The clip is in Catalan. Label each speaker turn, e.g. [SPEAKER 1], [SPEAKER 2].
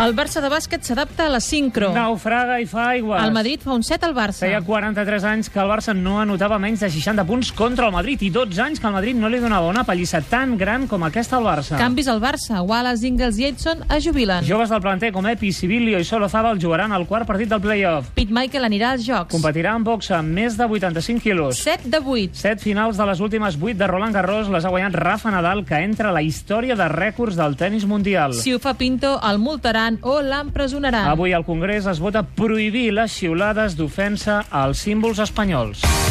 [SPEAKER 1] El Barça de bàsquet s'adapta a la sincro.
[SPEAKER 2] Naufraga i fa aigües.
[SPEAKER 1] El Madrid fa un set al Barça.
[SPEAKER 2] Feia 43 anys que el Barça no anotava menys de 60 punts contra el Madrid i 12 anys que el Madrid no li donava una pallissa tan gran com aquesta al Barça.
[SPEAKER 1] Canvis al Barça. Wallace, Ingles i Edson es jubilen.
[SPEAKER 2] Joves del planter com Epi, Sibilio i Solozabal jugaran al quart partit del playoff.
[SPEAKER 1] Pete Michael anirà als Jocs.
[SPEAKER 2] Competirà en boxa amb més de 85 quilos.
[SPEAKER 1] 7 de 8.
[SPEAKER 2] Set finals de les últimes 8 de Roland Garros les ha guanyat Rafa Nadal, que entra a la història de rècords del tennis mundial.
[SPEAKER 1] Si ho fa Pinto, el multaran o l'empresonaran.
[SPEAKER 2] Avui al Congrés es vota prohibir les xiulades d'ofensa als símbols espanyols.